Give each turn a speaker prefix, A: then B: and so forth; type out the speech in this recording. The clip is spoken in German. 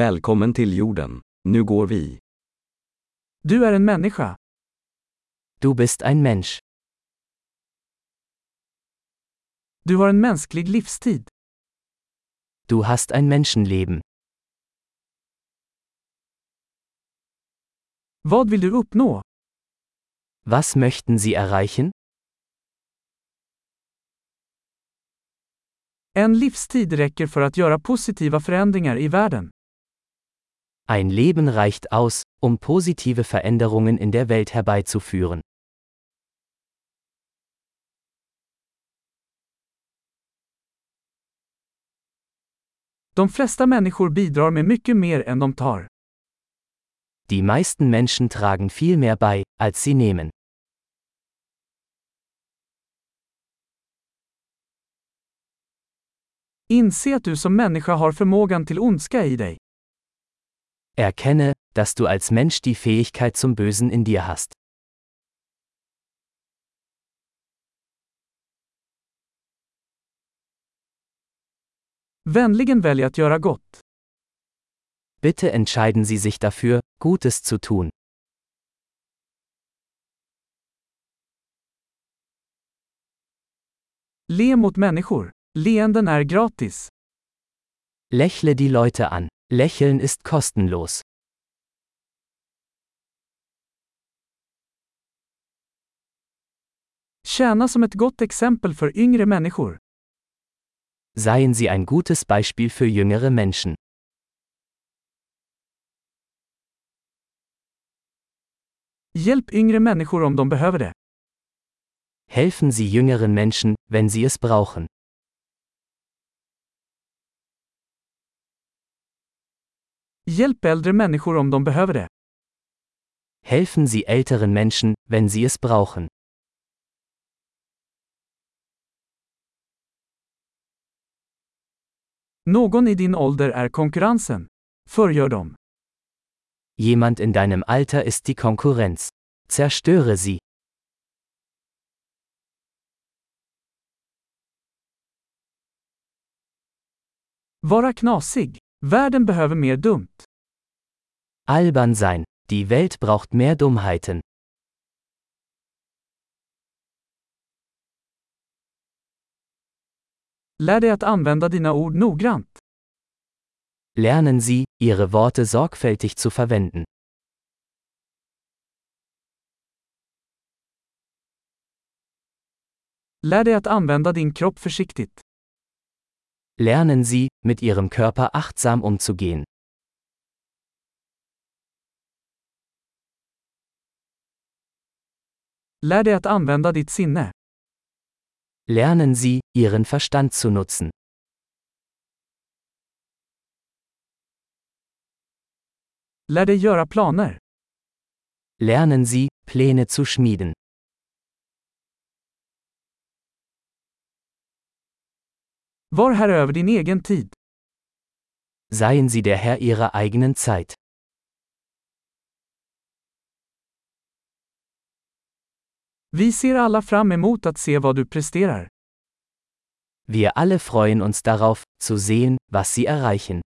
A: Välkommen till jorden. Nu går vi.
B: Du är en människa.
C: Du bist ein Mensch.
B: Du har en mänsklig livstid.
C: Du hast ein Menschenleben.
B: Vad vill du uppnå?
C: Was möchten Sie erreichen?
B: En livstid räcker för att göra positiva förändringar i världen.
C: Ein Leben reicht aus, um positive Veränderungen in der Welt herbeizuführen.
B: De flesta människor bidrar med mycket mer än de tar.
C: Die meisten Menschen tragen viel mehr bei, als sie nehmen.
B: Inse att du som människa har förmågan till ondska i dig.
C: Erkenne, dass du als Mensch die Fähigkeit zum Bösen in dir hast.
B: Vänligen välj att göra gott.
C: Bitte entscheiden Sie sich dafür, Gutes zu tun.
B: Le mot människor. Leenden är gratis.
C: Lächle die Leute an. Lächeln ist kostenlos.
B: Tjäna som ett gott exempel för yngre människor.
C: Seien Sie ein gutes Beispiel für jüngere Menschen.
B: Hjälp yngre människor om de behöver det.
C: Helfen Sie jüngeren Menschen, wenn sie es brauchen.
B: Hjälp äldre människor om de behöver det.
C: Helfen Sie älteren Menschen, wenn sie es brauchen.
B: Någon i din ålder är konkurrensen. Förgör dem.
C: Jemand in deinem Alter ist die Konkurrenz. Zerstöre sie.
B: Vara knasig. Världen behöver mer dumt.
C: Albern sein. Die Welt braucht mehr Dummheiten.
B: Lär dig att använda dina ord noggrant.
C: Lernen Sie, Ihre Worte sorgfältig zu verwenden.
B: Lär dig att använda din kropp försiktigt.
C: Lernen Sie, mit Ihrem Körper achtsam umzugehen.
B: Lär dig att använda ditt sinne.
C: Lernen Sie, Ihren Verstand zu nutzen.
B: Lär dig göra planer.
C: Lernen Sie, Pläne zu schmieden.
B: Var herre över din egen tid.
C: Seien Sie der Herr Ihrer eigenen Zeit.
B: Vi ser alla fram emot att se vad du presterar.
C: Wir alle freuen uns darauf, zu sehen, was Sie erreichen.